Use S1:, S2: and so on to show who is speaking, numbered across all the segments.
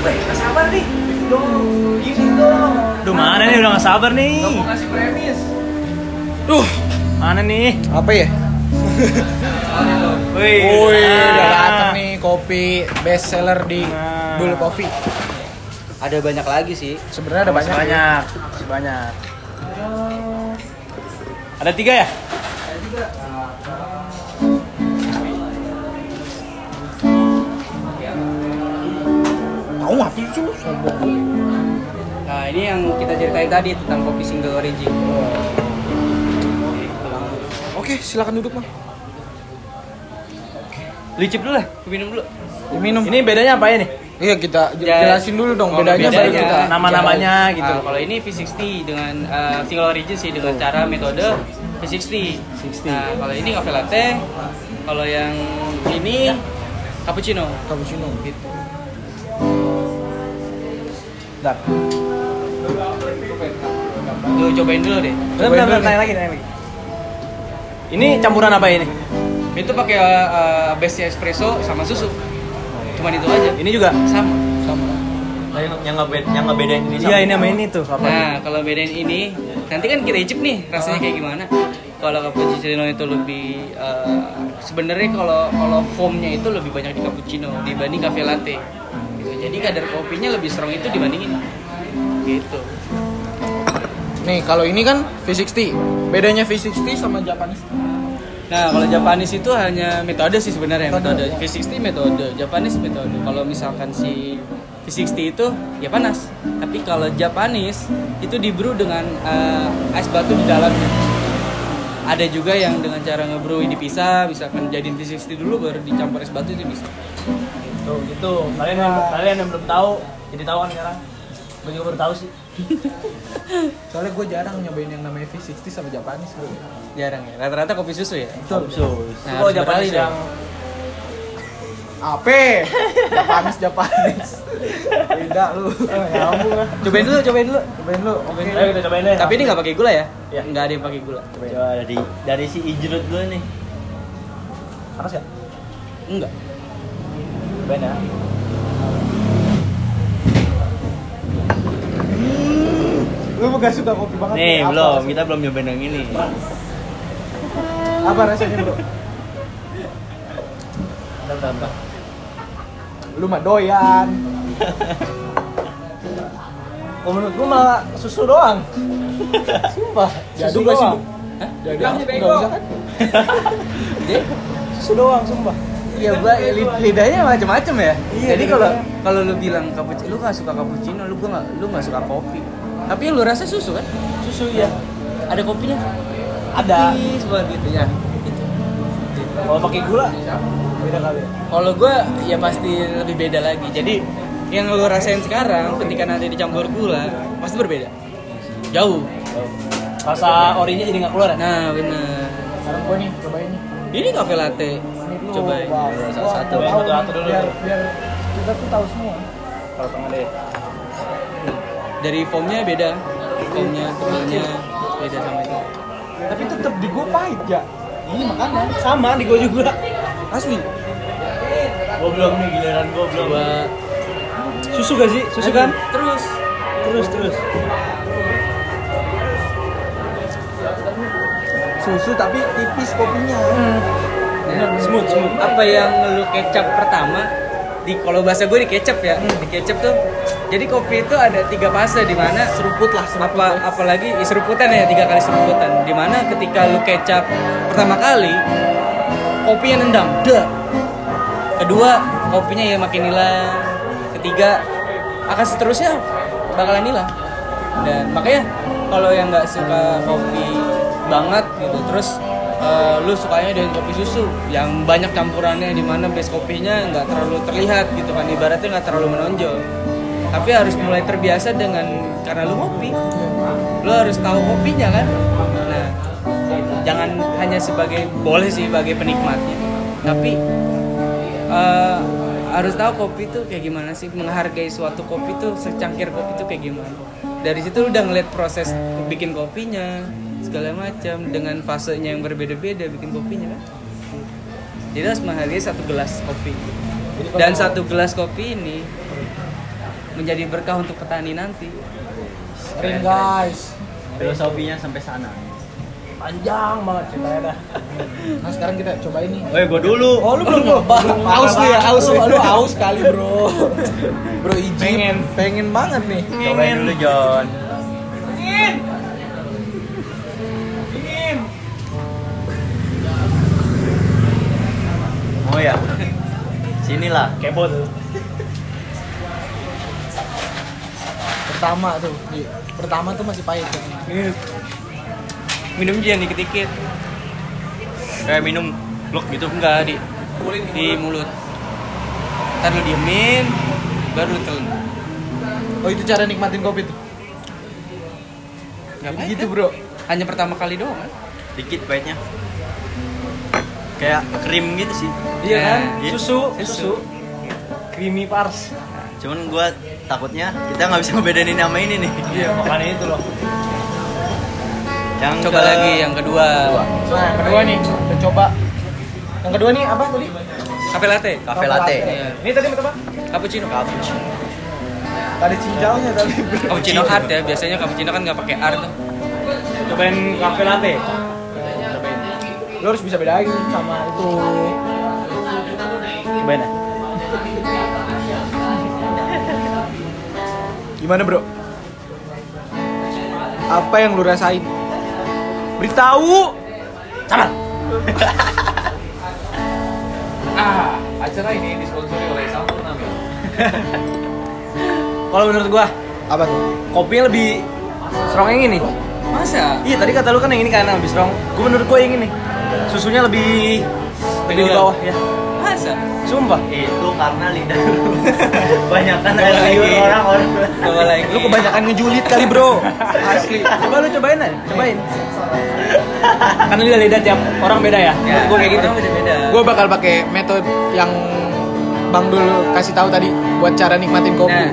S1: gimana nih? Dong, gini dong.
S2: Duh mana nih udah gak sabar nih
S1: Gak mau ngasih premis.
S2: Duh Mana nih
S3: Apa ya?
S2: Wih
S3: Woi,
S2: ah.
S3: udah dateng nih kopi best seller di
S2: Nah.
S3: Bull Coffee.
S4: Ada banyak lagi sih.
S3: Sebenarnya ada
S2: Masih
S3: banyak.
S2: banyak Masih banyak Ada tiga ya?
S3: Tahu apa sih lu sombong.
S4: Nah, ini yang kita ceritain tadi tentang kopi single origin.
S3: Oke, silakan duduk, Bang.
S2: Licip dulu lah
S4: Aku minum dulu.
S3: Minum.
S2: Ini bedanya apa ini?
S3: Iya, kita j-
S4: Ya.
S3: jelasin dulu dong bedanya, baru
S4: bedanya.
S3: kita.
S2: Nama-namanya
S4: Ah,
S2: gitu
S4: kalau ini V60 dengan eh, single origin sih dengan cara metode V60. Nah, kalau ini cafe latte, kalau yang ini cappuccino.
S3: Cappuccino.
S4: Gitu.
S2: Bentar
S4: Lu cobain dulu deh.
S2: Bentar, bentar, bentar, tanya lagi, tanya lagi Ini campuran apa ini?
S4: Itu pakai eh, eh, base espresso sama susu. Cuman itu aja.
S2: Ini juga?
S4: sama.
S5: yang ngebed yang ngebedain ini sama
S2: Iya ini sama ini tuh apa?
S4: Nah, kalau bedain ini, nanti kan kita icip nih rasanya kayak gimana. Kalau cappuccino itu lebih eh, sebenarnya kalau kalau foamnya itu lebih banyak di cappuccino dibanding cafe latte. Gitu. Jadi kadar kopinya lebih strong itu dibandingin gitu.
S3: Nih, kalau ini kan V60. Bedanya V60 sama Japanese.
S4: Nah, kalau Japanese itu hanya metode sih sebenarnya,
S3: Metode.
S4: metode. V60 metode, Japanese metode. Kalau misalkan si V60 itu ya panas. Tapi kalau Japanese itu dibrew dengan eh, es batu di dalamnya. Ada juga yang dengan cara ngebrew dipisah, misalkan jadiin V60 dulu baru dicampur es batu itu bisa.
S2: Tuh gitu, kalian yang, kalian yang belum tahu jadi tahu kan sekarang Gue juga baru tahu sih
S3: Soalnya gue jarang nyobain yang namanya V60 sama Japanese, bro.
S4: Jarang ya. Rata-rata kopi susu ya.
S2: Absus
S4: Nah,
S2: Kalau
S4: harus
S2: Japanese
S4: beralih
S2: yang
S3: Ape. Japanese Japanese. Beda lu. Nyambung lah.
S4: Cobain dulu, cobain dulu.
S3: Cobain lu. Oke.
S2: Oh, Ayo kita cobain deh
S4: Tapi ini nggak pakai gula ya?
S2: Iya.
S4: Nggak ada yang pakai gula.
S5: Coba dari dari si Ijrut dulu nih
S2: Panas ya?
S4: Enggak.
S2: Cobain ya
S3: Lu bukan suka kopi banget. ya?
S5: nih
S3: Apa
S5: belum
S3: rasanya?
S5: kita belum nyobain yang ini
S3: Apa rasanya, bro? Lu mah doyan.
S2: Kalau menurut gue malah susu doang Sumpah
S3: Susu
S2: Jadul gak sih
S3: doang.
S2: Bu?
S3: Jadi
S4: Bilang sih,
S3: nggak
S4: bego.
S3: bisa kan?
S2: Iya. Susu doang sumpah
S4: Iya, gua li- lidahnya macam-macam ya.
S2: Iya,
S4: Jadi
S2: iya.
S4: kalau kalau lu bilang cappuccino, lu nggak suka cappuccino, lu gua nggak lu nggak suka kopi. Tapi lu rasa susu kan?
S2: Susu ya
S4: Ada kopinya?
S2: Ada
S4: Tipis banget gitu ya. Gitu.
S2: Kalau pakai gula Beda kali ya
S4: Kalau gua ya pasti lebih beda lagi. Jadi yang lu rasain sekarang ketika nanti dicampur gula pasti berbeda. Jauh.
S2: Rasa orinya jadi gak keluar ya?
S4: Nah, bener.
S3: Sekarang gua nih, cobain nih.
S4: Ini cafe latte.
S3: Ini lu,
S4: Coba.
S2: Oh,
S3: Bang.
S5: Salah
S3: Gua
S5: satu.
S3: tahu
S2: Satu-
S3: nih,
S2: satu dulu.
S3: Biar biar kita tuh tahu semua.
S2: Kalau tengah deh
S4: Dari foamnya beda. Foamnya,
S2: Iya.
S4: tebalnya beda sama itu.
S3: Tapi tetep di gua pahit ya.
S2: Ini makanya Sama di gue juga
S3: Asli.
S5: gue belum nih giliran gue belum
S4: Coba
S2: Susu gak sih? Susu kan?
S4: Terus.
S2: Terus terus
S3: Susu tapi tipis kopinya.
S4: smooth, smooth. Apa yang lu kecap pertama di kalau bahasa gue di kecap ya. Di kecap tuh jadi kopi itu ada tiga fase di mana seruput lah apa apalagi ya, seruputan ya tiga kali seruputan di mana ketika lu kecap pertama kali kopinya nendang Duh. kedua kopinya ya makin hilang ketiga akan seterusnya bakalan hilang dan makanya kalau yang nggak suka kopi banget gitu terus eh, lu sukanya dengan kopi susu yang banyak campurannya di mana base kopinya nggak terlalu terlihat gitu kan ibaratnya nggak terlalu menonjol tapi harus mulai terbiasa dengan karena lu kopi lu harus tahu kopinya kan nah jangan hanya sebagai boleh sih sebagai penikmatnya tapi eh, harus tahu kopi tuh kayak gimana sih menghargai suatu kopi tuh secangkir kopi tuh kayak gimana dari situ lu udah ngeliat proses bikin kopinya segala macam dengan fasenya yang berbeda-beda bikin kopinya kan jadi harus menghargai satu gelas kopi dan satu gelas kopi ini menjadi berkah untuk petani nanti.
S3: Keren guys.
S5: Filosofinya sampai sana.
S2: Panjang banget ceritanya dah.
S3: Nah sekarang kita cobain nih.
S5: Eh, gua dulu.
S3: Oh lu belum nyoba. Aus lu ya, aus lu. Lu aus kali bro. Bro izin.
S5: Pengen.
S3: Pengen banget nih.
S5: Cobain dulu, John. Mau ya? Sinilah.
S2: Kepo tuh.
S3: Pertama tuh. Di, pertama tuh masih pahit. Kan?
S4: Minum jangan dikit-dikit.
S5: Kayak Eh, minum blok gitu.
S4: Enggak di di mulut. Ntar lu diemin, baru lu telan.
S3: Oh itu cara nikmatin kopi tuh.
S4: Nggak pahit
S3: gitu
S4: kan?
S3: bro.
S4: Hanya pertama kali doang kan?
S5: Dikit pahitnya. Kayak krim gitu sih.
S2: Iya kan?
S5: Iya.
S2: Susu,
S4: Susu.
S2: susu. Creamy pars.
S5: Cuman gua takutnya kita nggak bisa ngebedain sama ini nih.
S2: Iya, makanya itu loh.
S5: Yang
S4: Coba
S5: ke-
S4: lagi yang kedua.
S3: Nah yang kedua nih. Kita coba. Yang kedua nih apa tadi?
S4: Cafe latte.
S5: Cafe latte.
S4: Iya.
S2: Ini tadi apa?
S4: Cappuccino. Cappuccino.
S3: Ada cincaunya tadi. bro.
S4: Cappuccino art ya. Biasanya cappuccino kan nggak pakai art.
S2: Cobain kafe latte.
S3: Lu harus bisa bedain sama itu.
S2: Cobain ya.
S3: Gimana bro? Apa yang lu rasain? Beritahu.
S6: Ah, acara ini disponsori oleh Samsung
S2: Kalau menurut gua,
S3: Apa tuh?
S2: kopinya lebih strong yang ini.
S4: Masa?
S2: Iya, tadi kata lu kan yang ini kan yang lebih strong. Gua menurut gua yang ini. Susunya lebih lebih di bawah ya.
S4: Masa?
S2: Sumpah.
S5: Itu karena lidah lu. Banyakan
S2: Coba
S5: air
S2: lagi.
S5: liur orang-orang.
S4: Coba lagi.
S3: Lu kebanyakan ngejulit kali bro. Asli.
S2: Coba lu cobain aja, cobain. Karena lidah lidah tiap orang beda ya. Menurut gua kayak gitu.
S4: Orang beda-beda.
S3: gue bakal pakai metode yang Bang Dul kasih tahu tadi buat cara nikmatin kopi.
S4: Nah,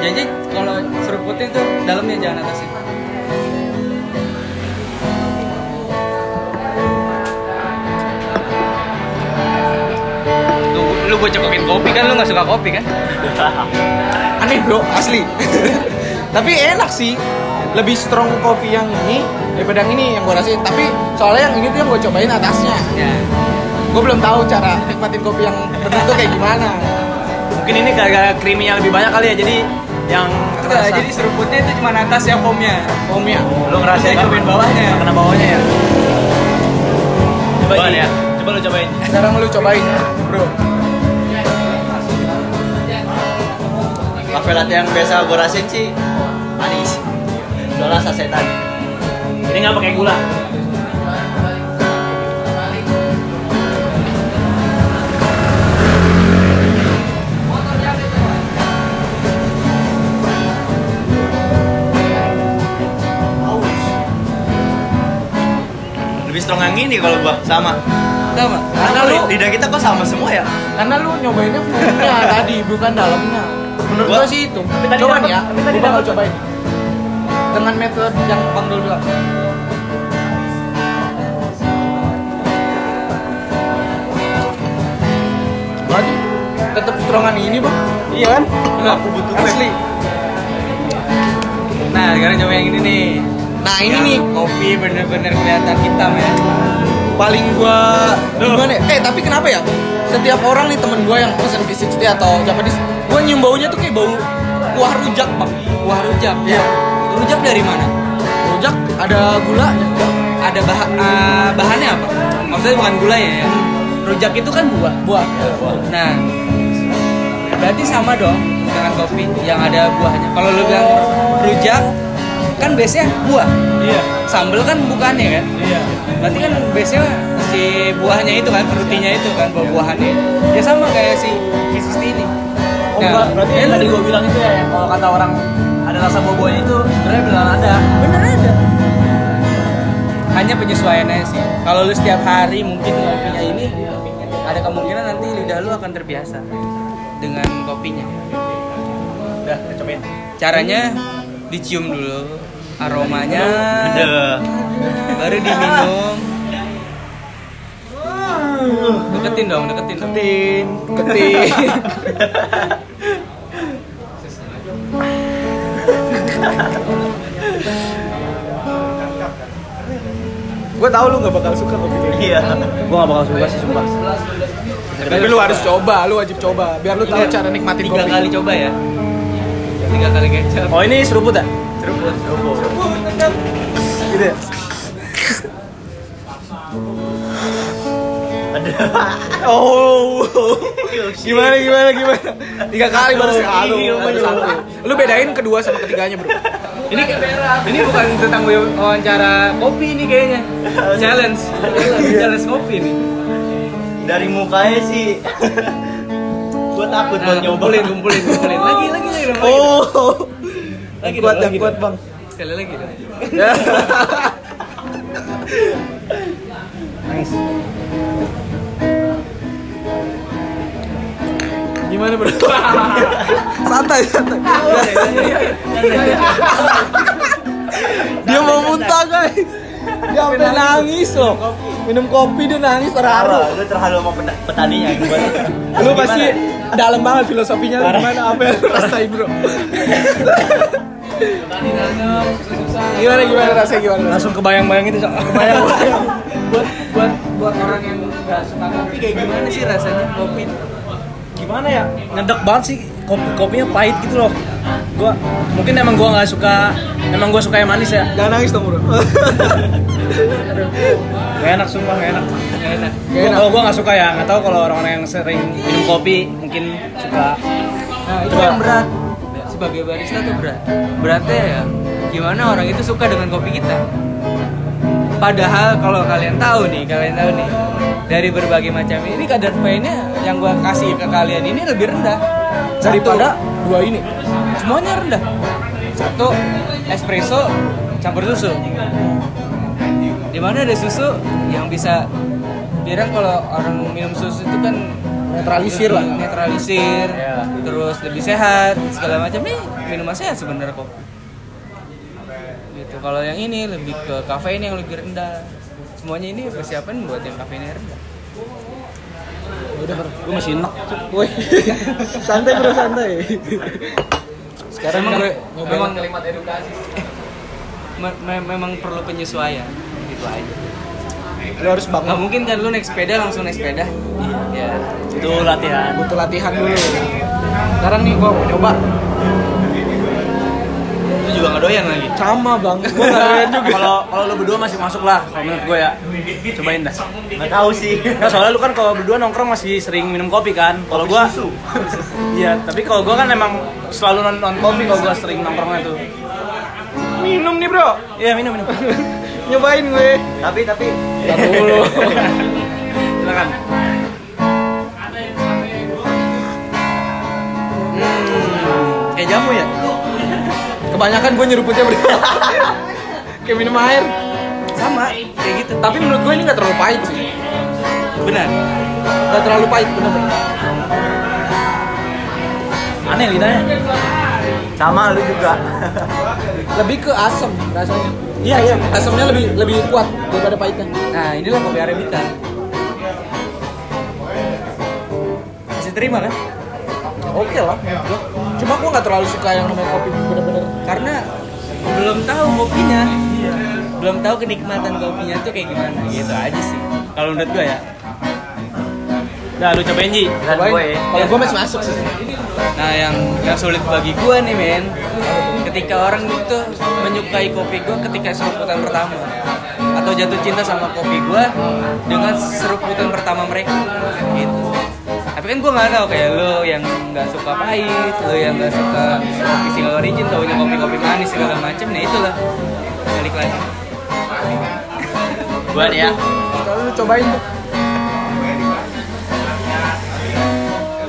S4: jadi kalau seruputnya tuh dalamnya jangan atasnya. Lu, lu gue cekokin kopi kan, lu gak suka kopi kan?
S3: Aneh bro, asli. Tapi enak sih. Lebih strong kopi yang ini daripada yang ini yang gue rasain. Tapi soalnya yang ini tuh yang gue cobain atasnya.
S4: Ya.
S3: Gue belum tahu cara nikmatin kopi yang benar tuh kayak gimana.
S2: Mungkin ini gara-gara creamy lebih banyak kali ya. Jadi yang
S4: Enggak, jadi seruputnya itu cuma atas ya foamnya.
S3: Omnya.
S2: lu ngerasain
S4: Saya cobain bawahnya.
S2: Karena bawahnya ya.
S5: Cobain
S2: Ji.
S5: ya.
S2: Coba lu cobain.
S3: Sekarang lu cobain, bro.
S5: Cafe latte yang biasa gua rasain sih manis. Soalnya sasetan.
S2: Ini nggak pakai gula.
S5: Lebih strong yang ini kalau gua sama.
S4: Tahu nggak?
S5: Karena li- lidah kita kok sama semua ya?
S3: Karena lu nyobainnya foamnya tadi, bukan dalamnya. Menurut
S5: Gua-
S3: gue sih itu.
S2: tadi
S3: Coba
S2: dapet-
S3: nih ya,
S2: tapi tadi
S3: gue bakal
S2: dapet.
S3: cobain. Dengan metode yang Bang Dul bilang. Berarti tetap strongan ini bang.
S2: Iya kan?
S5: Aku butuh
S3: Asli.
S4: Nah, sekarang coba yang ini nih.
S3: Nah ini
S2: Ya.
S4: Yang
S3: nih
S4: kopi bener-bener kelihatan hitam ya.
S3: paling gua gimana? ya? Eh tapi kenapa ya? Setiap orang nih temen gua yang pesen V60 atau Japanese, gua nyium baunya tuh kayak bau kuah rujak bang.
S4: Wah, rujak ya.
S2: Iya.
S4: Rujak dari mana?
S3: Rujak ada gulanya.
S4: Ada bah eh, bahannya apa? Maksudnya bukan gulai ya. ya? Rujak itu kan buah.
S3: Buah.
S4: Nah, berarti sama dong dengan kopi yang ada buahnya. Kalau lu bilang rujak, kan base-nya buah.
S2: Iya.
S4: Sambel kan bukannya kan?
S2: Iya.
S4: Berarti kan base-nya si buahnya itu kan, frutinya itu kan, buah-buahannya. Ya sama kayak si V60 ini. Nah.
S2: Oh, enggak, berarti yang tadi gua bilang itu ya yang kalau kata orang ada rasa buah-buahnya itu sebenarnya beneran ada.
S4: bener ada. Hanya penyesuaiannya sih. Kalau lu setiap hari mungkin kopinya ini, ada kemungkinan nanti lidah lu akan terbiasa dengan kopinya.
S2: Udah, kita cobain.
S4: caranya dicium dulu aromanya
S5: Ada.
S4: baru diminum deketin dong deketin dong
S2: Tin.
S3: Ketik. Gue tahu lu nggak bakal suka kopi kayak gini.
S2: Iya. Gue gak bakal suka sih sumpah.
S3: Tapi lu harus coba, lu wajib coba. Biar lu tahu
S4: Tiga-
S3: cara nikmatin
S4: Iya. tiga
S3: kopi.
S4: kali coba ya tiga kali kecap
S2: Oh ini seruput ya?
S4: seruput
S3: Gitu ya. Oh, gimana gimana gimana? Tiga kali baru sekali.
S4: Iya,
S3: Baru satu. Lu bedain kedua sama ketiganya bro.
S4: ini ini bukan tentang wawancara kopi ini kayaknya challenge challenge kopi nih
S5: Dari mukanya sih. Gua takut buat
S4: nah,
S5: nyoba.
S4: kumpulin kumpulin kumpulin lagi lagi lagi dong, lagi dong.
S3: Oh,
S4: Lagi
S3: yang
S4: dong,
S3: kuat
S4: lagi
S3: yang kuat
S4: dong.
S3: bang.
S4: sekali lagi dong.
S3: Ya. Gimana bro? santai santai. dia mau muntah guys. Dia sampai nangis loh. Minum kopi dia nangis terharu.
S5: Parah, lu terhalu sama peta- petaninya gimana?
S3: Lu pasti dalam banget filosofinya lu gimana apa yang lu rasain bro? gimana gimana rasanya gimana? Langsung kebayang-bayang itu. Kebayang-bayang.
S4: buat buat buat orang yang nggak suka kopi kayak gimana sih rasanya kopi
S2: Gimana ya? Ngedek banget sih. Kopi kopinya pahit gitu loh. Gua mungkin emang gua nggak suka. Emang gua suka yang manis ya.
S3: Jangan nangis dong bro.
S2: Gak enak sumpah gak enak.
S4: Nggak enak
S3: Gak enak.
S2: Kalau gua nggak suka ya. Nggak tahu kalau orang-orang yang sering minum kopi mungkin suka.
S4: nah itu
S2: Coba.
S4: yang berat sebagai barista tuh berat beratnya ya gimana orang itu suka dengan kopi kita padahal kalau kalian tahu nih kalian tahu nih dari berbagai macam ini kadar paynya yang gua kasih ke kalian ini lebih rendah daripada
S3: dua ini.
S4: semuanya rendah satu espresso campur susu dimana ada susu yang bisa bilang kalau orang minum susu itu kan
S3: Netralisir lah.
S4: lebih netralisir
S2: Iya.
S4: terus lebih sehat segala macam nih minuman sehat sebenarnya kok gitu kalau yang ini lebih ke kafein yang lebih rendah semuanya ini persiapan buat yang kafeinnya rendah
S2: Gua masih enak.
S3: Woi, santai bro santai.
S4: sekarang memang, memang,
S6: Memang kalimat edukasi sih.
S4: me- me- memang perlu penyesuaian gitu aja
S3: Lu harus bangun.
S4: Nggak mungkin kan lu naik sepeda langsung naik sepeda. Iya.
S2: Itu latihan.
S3: Butuh latihan dulu. Sekarang nih gua mau nyoba.
S4: Lu juga nggak doyan lagi.
S3: Sama bang. Gua nggak doyan juga.
S2: Kalau kalau lu berdua masih masuk lah kalau menurut gue ya. Cobain dah.
S5: Enggak tahu sih.
S2: Nah, soalnya lu kan kalau berdua nongkrong masih sering minum kopi kan. Kalau
S5: Kopi
S2: gua
S5: susu.
S2: iya, tapi kalau gua kan emang selalu non, non kopi kalau gua sering nongkrongnya tuh.
S3: Minum nih bro.
S2: Iya, minum minum.
S3: Nyobain gue.
S5: Tapi tapi
S3: Ntar dulu.
S2: Silakan.
S4: Hmm. Kayak jamu ya?
S3: Kebanyakan gue nyeruputnya bro. Kayak minum air.
S4: Sama, kayak gitu.
S3: Tapi menurut gue ini nggak terlalu pahit sih.
S4: Benar.
S3: Nggak terlalu pahit bener.
S2: Aneh lidahnya.
S5: sama lu juga.
S3: Lebih ke asam rasanya.
S2: Iya, iya.
S3: Asamnya lebih lebih kuat daripada pahitnya.
S4: Nah, inilah kopi arabica. Masih terima kan?
S3: Oke lah. Cuma gue nggak terlalu suka yang namanya kopi bener-bener.
S4: Karena belum tahu kopinya.
S6: Iya.
S4: Belum tahu kenikmatan kopinya tuh kayak gimana gitu aja sih. Kalau menurut gua ya.
S2: Dah lu cobain Ji.
S4: Kan
S5: Dan
S3: Cobain.
S5: gue
S4: ya.
S3: Kalau gue masih masuk sih.
S4: Nah, yang yang sulit bagi gua nih, men. Ketika orang itu menyukai kopi gua ketika seruputan pertama atau jatuh cinta sama kopi gua dengan seruputan pertama mereka gitu. Tapi kan gua nggak tahu kayak lo yang nggak suka pahit, lo yang nggak suka kopi single origin, taunya kopi-kopi manis segala macem, nah itulah balik lagi.
S5: Gua nih ya.
S3: Kalau lu cobain tuh.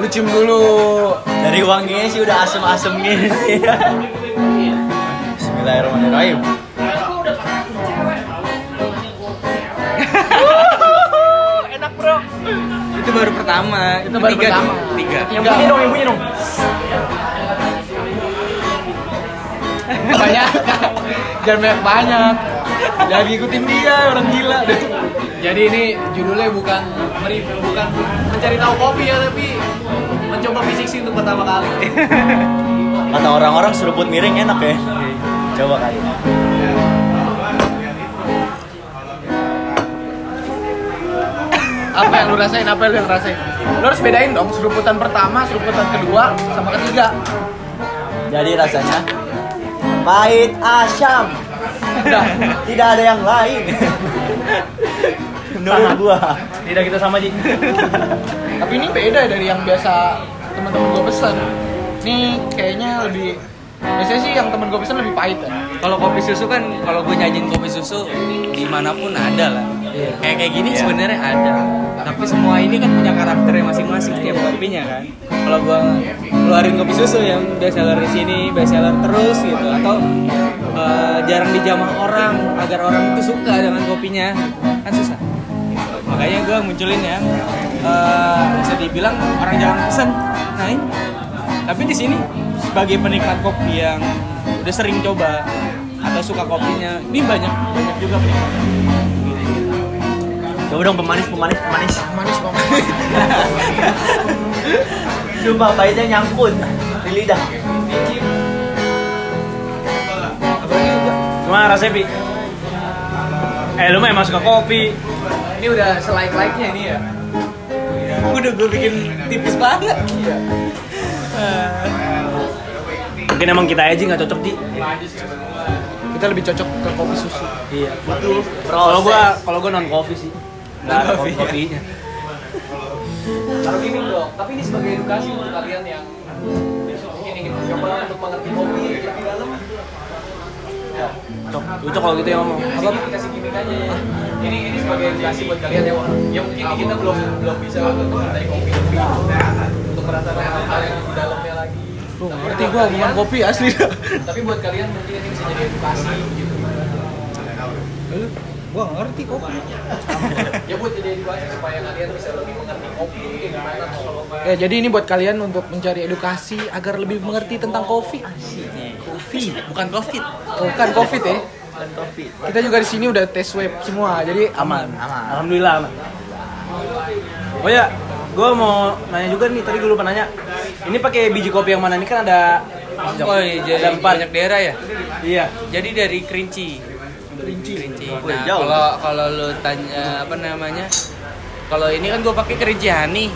S3: Lu cium dulu.
S5: Dari wanginya sih udah asem-asem gini. Bismillahirrahmanirrahim.
S4: Itu baru pertama, itu
S2: baru
S4: tiga,
S2: pertama.
S4: tiga.
S2: Yang bunyi dong, yang bunyi dong.
S3: Banyak. Jangan banyak banyak. Jangan ngikutin dia orang gila.
S6: Jadi ini judulnya bukan mereview, bukan mencari tahu kopi ya, tapi mencoba fisiksi untuk pertama kali.
S5: Kata orang-orang seruput miring enak ya.
S2: Coba kali. ini.
S3: apa yang lu rasain apa yang lu yang rasain lu harus bedain dong seruputan pertama seruputan kedua sama ketiga
S5: Jadi rasanya pahit asam. Udah, tidak ada yang lain. Menurut gua.
S2: Tidak kita sama Ji.
S3: tapi ini beda dari yang biasa teman-teman gue pesen ini kayaknya lebih biasanya sih yang temen gue pesen lebih pahit ya
S4: Kalau kopi susu kan, kalau gue nyajiin kopi susu dimanapun ada lah. Kayak kayak gini sebenarnya ada. Tapi semua ini kan punya karakternya masing-masing tiap kopinya kan. Kalau gue keluarin kopi susu yang best seller di sini, best seller terus gitu, atau eh, jarang dijamah orang agar orang itu suka dengan kopinya, kan susah. Makanya gue munculin yang eh, bisa dibilang orang jarang pesen. Nah ini. Tapi di sini sebagai penikmat kopi yang udah sering coba atau suka kopinya, ini banyak banyak juga penikmat.
S5: Coba dong pemanis, pemanis, pemanis.
S3: manis banget
S5: Coba pahitnya nyangkut di lidah.
S2: Cuma rasanya Pi. Eh lu mah emang suka kopi.
S6: Ini udah selike-like-nya ini ya.
S2: Iya.
S4: Udah gue bikin tipis banget.
S2: Mungkin emang kita aja nggak cocok Ji.
S3: kita lebih cocok ke kopi susu
S2: Iya. Kalau
S5: Kalau
S2: gua kalau gua non kopi sih. Nggak ada kopinya.
S6: Tapi gini bro, tapi ini sebagai edukasi untuk kalian yang ingin ingin mencoba untuk mengerti kopi lebih dalam.
S2: Cocok. Cocok kalau gitu ya ngomong.
S6: Apa kasih gimmick aja ya. Ini ini sebagai edukasi buat kalian yang yang mungkin kita belum belum bisa mengerti kopi lebih untuk merasakan hal-hal yang lebih dalamnya lagi.
S3: Tuh, ngerti gue bukan kopi asli dah
S6: Tapi buat kalian mungkin ini bisa jadi edukasi gitu.
S3: gue ngerti kopi
S6: Ya buat jadi edukasi supaya kalian bisa lebih mengerti kopi kayak gimana kalau
S3: ya jadi ini buat kalian untuk mencari edukasi agar lebih mengerti tentang kopi
S4: Kopi, bukan covid.
S3: bukan covid ya kita juga di sini udah tes web semua jadi aman
S2: Alhamdulillah aman. Oh ya, gue mau nanya juga nih tadi gue lupa nanya. Ini pakai biji kopi yang mana ini kan ada
S4: Oh iya,
S2: ada
S4: jadi
S2: empat.
S4: banyak daerah ya.
S2: Iya.
S4: Jadi dari kerinci. Kerinci. Nah,
S5: jauh.
S4: kalau kalau lu tanya apa namanya? Kalau ini kan gue pakai kerinci hani.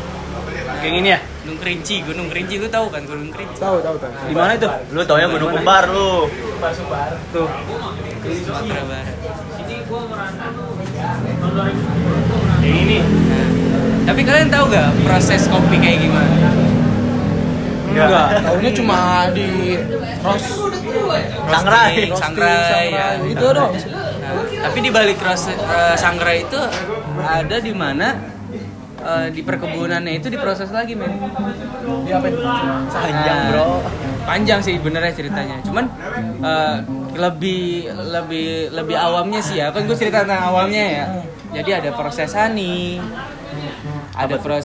S2: Kayak ini ya.
S4: Gunung Kerinci, Gunung Kerinci lu tahu kan Gunung Kerinci?
S3: tahu tahu tahu
S2: Di mana itu?
S5: Lu tau ya menu
S2: Gimana?
S5: kembar lu.
S2: Tuh.
S4: Sumatera Barat.
S2: Yang ini.
S4: Nah, tapi kalian tahu nggak proses kopi kayak gimana?
S2: Enggak.
S3: tahunya cuma di roast
S5: Sangrai.
S4: Roasting, sangrai, ya.
S3: itu dong
S4: Nah, tapi di balik proses eh, sangrai itu ada di mana eh, di perkebunannya itu diproses lagi men.
S5: Panjang, Bro.
S4: Ah. Panjang sih benernya ceritanya. Cuman eh, lebih lebih lebih awamnya sih ya. Kan gue cerita tentang awamnya ya. Jadi ada proses hani, ada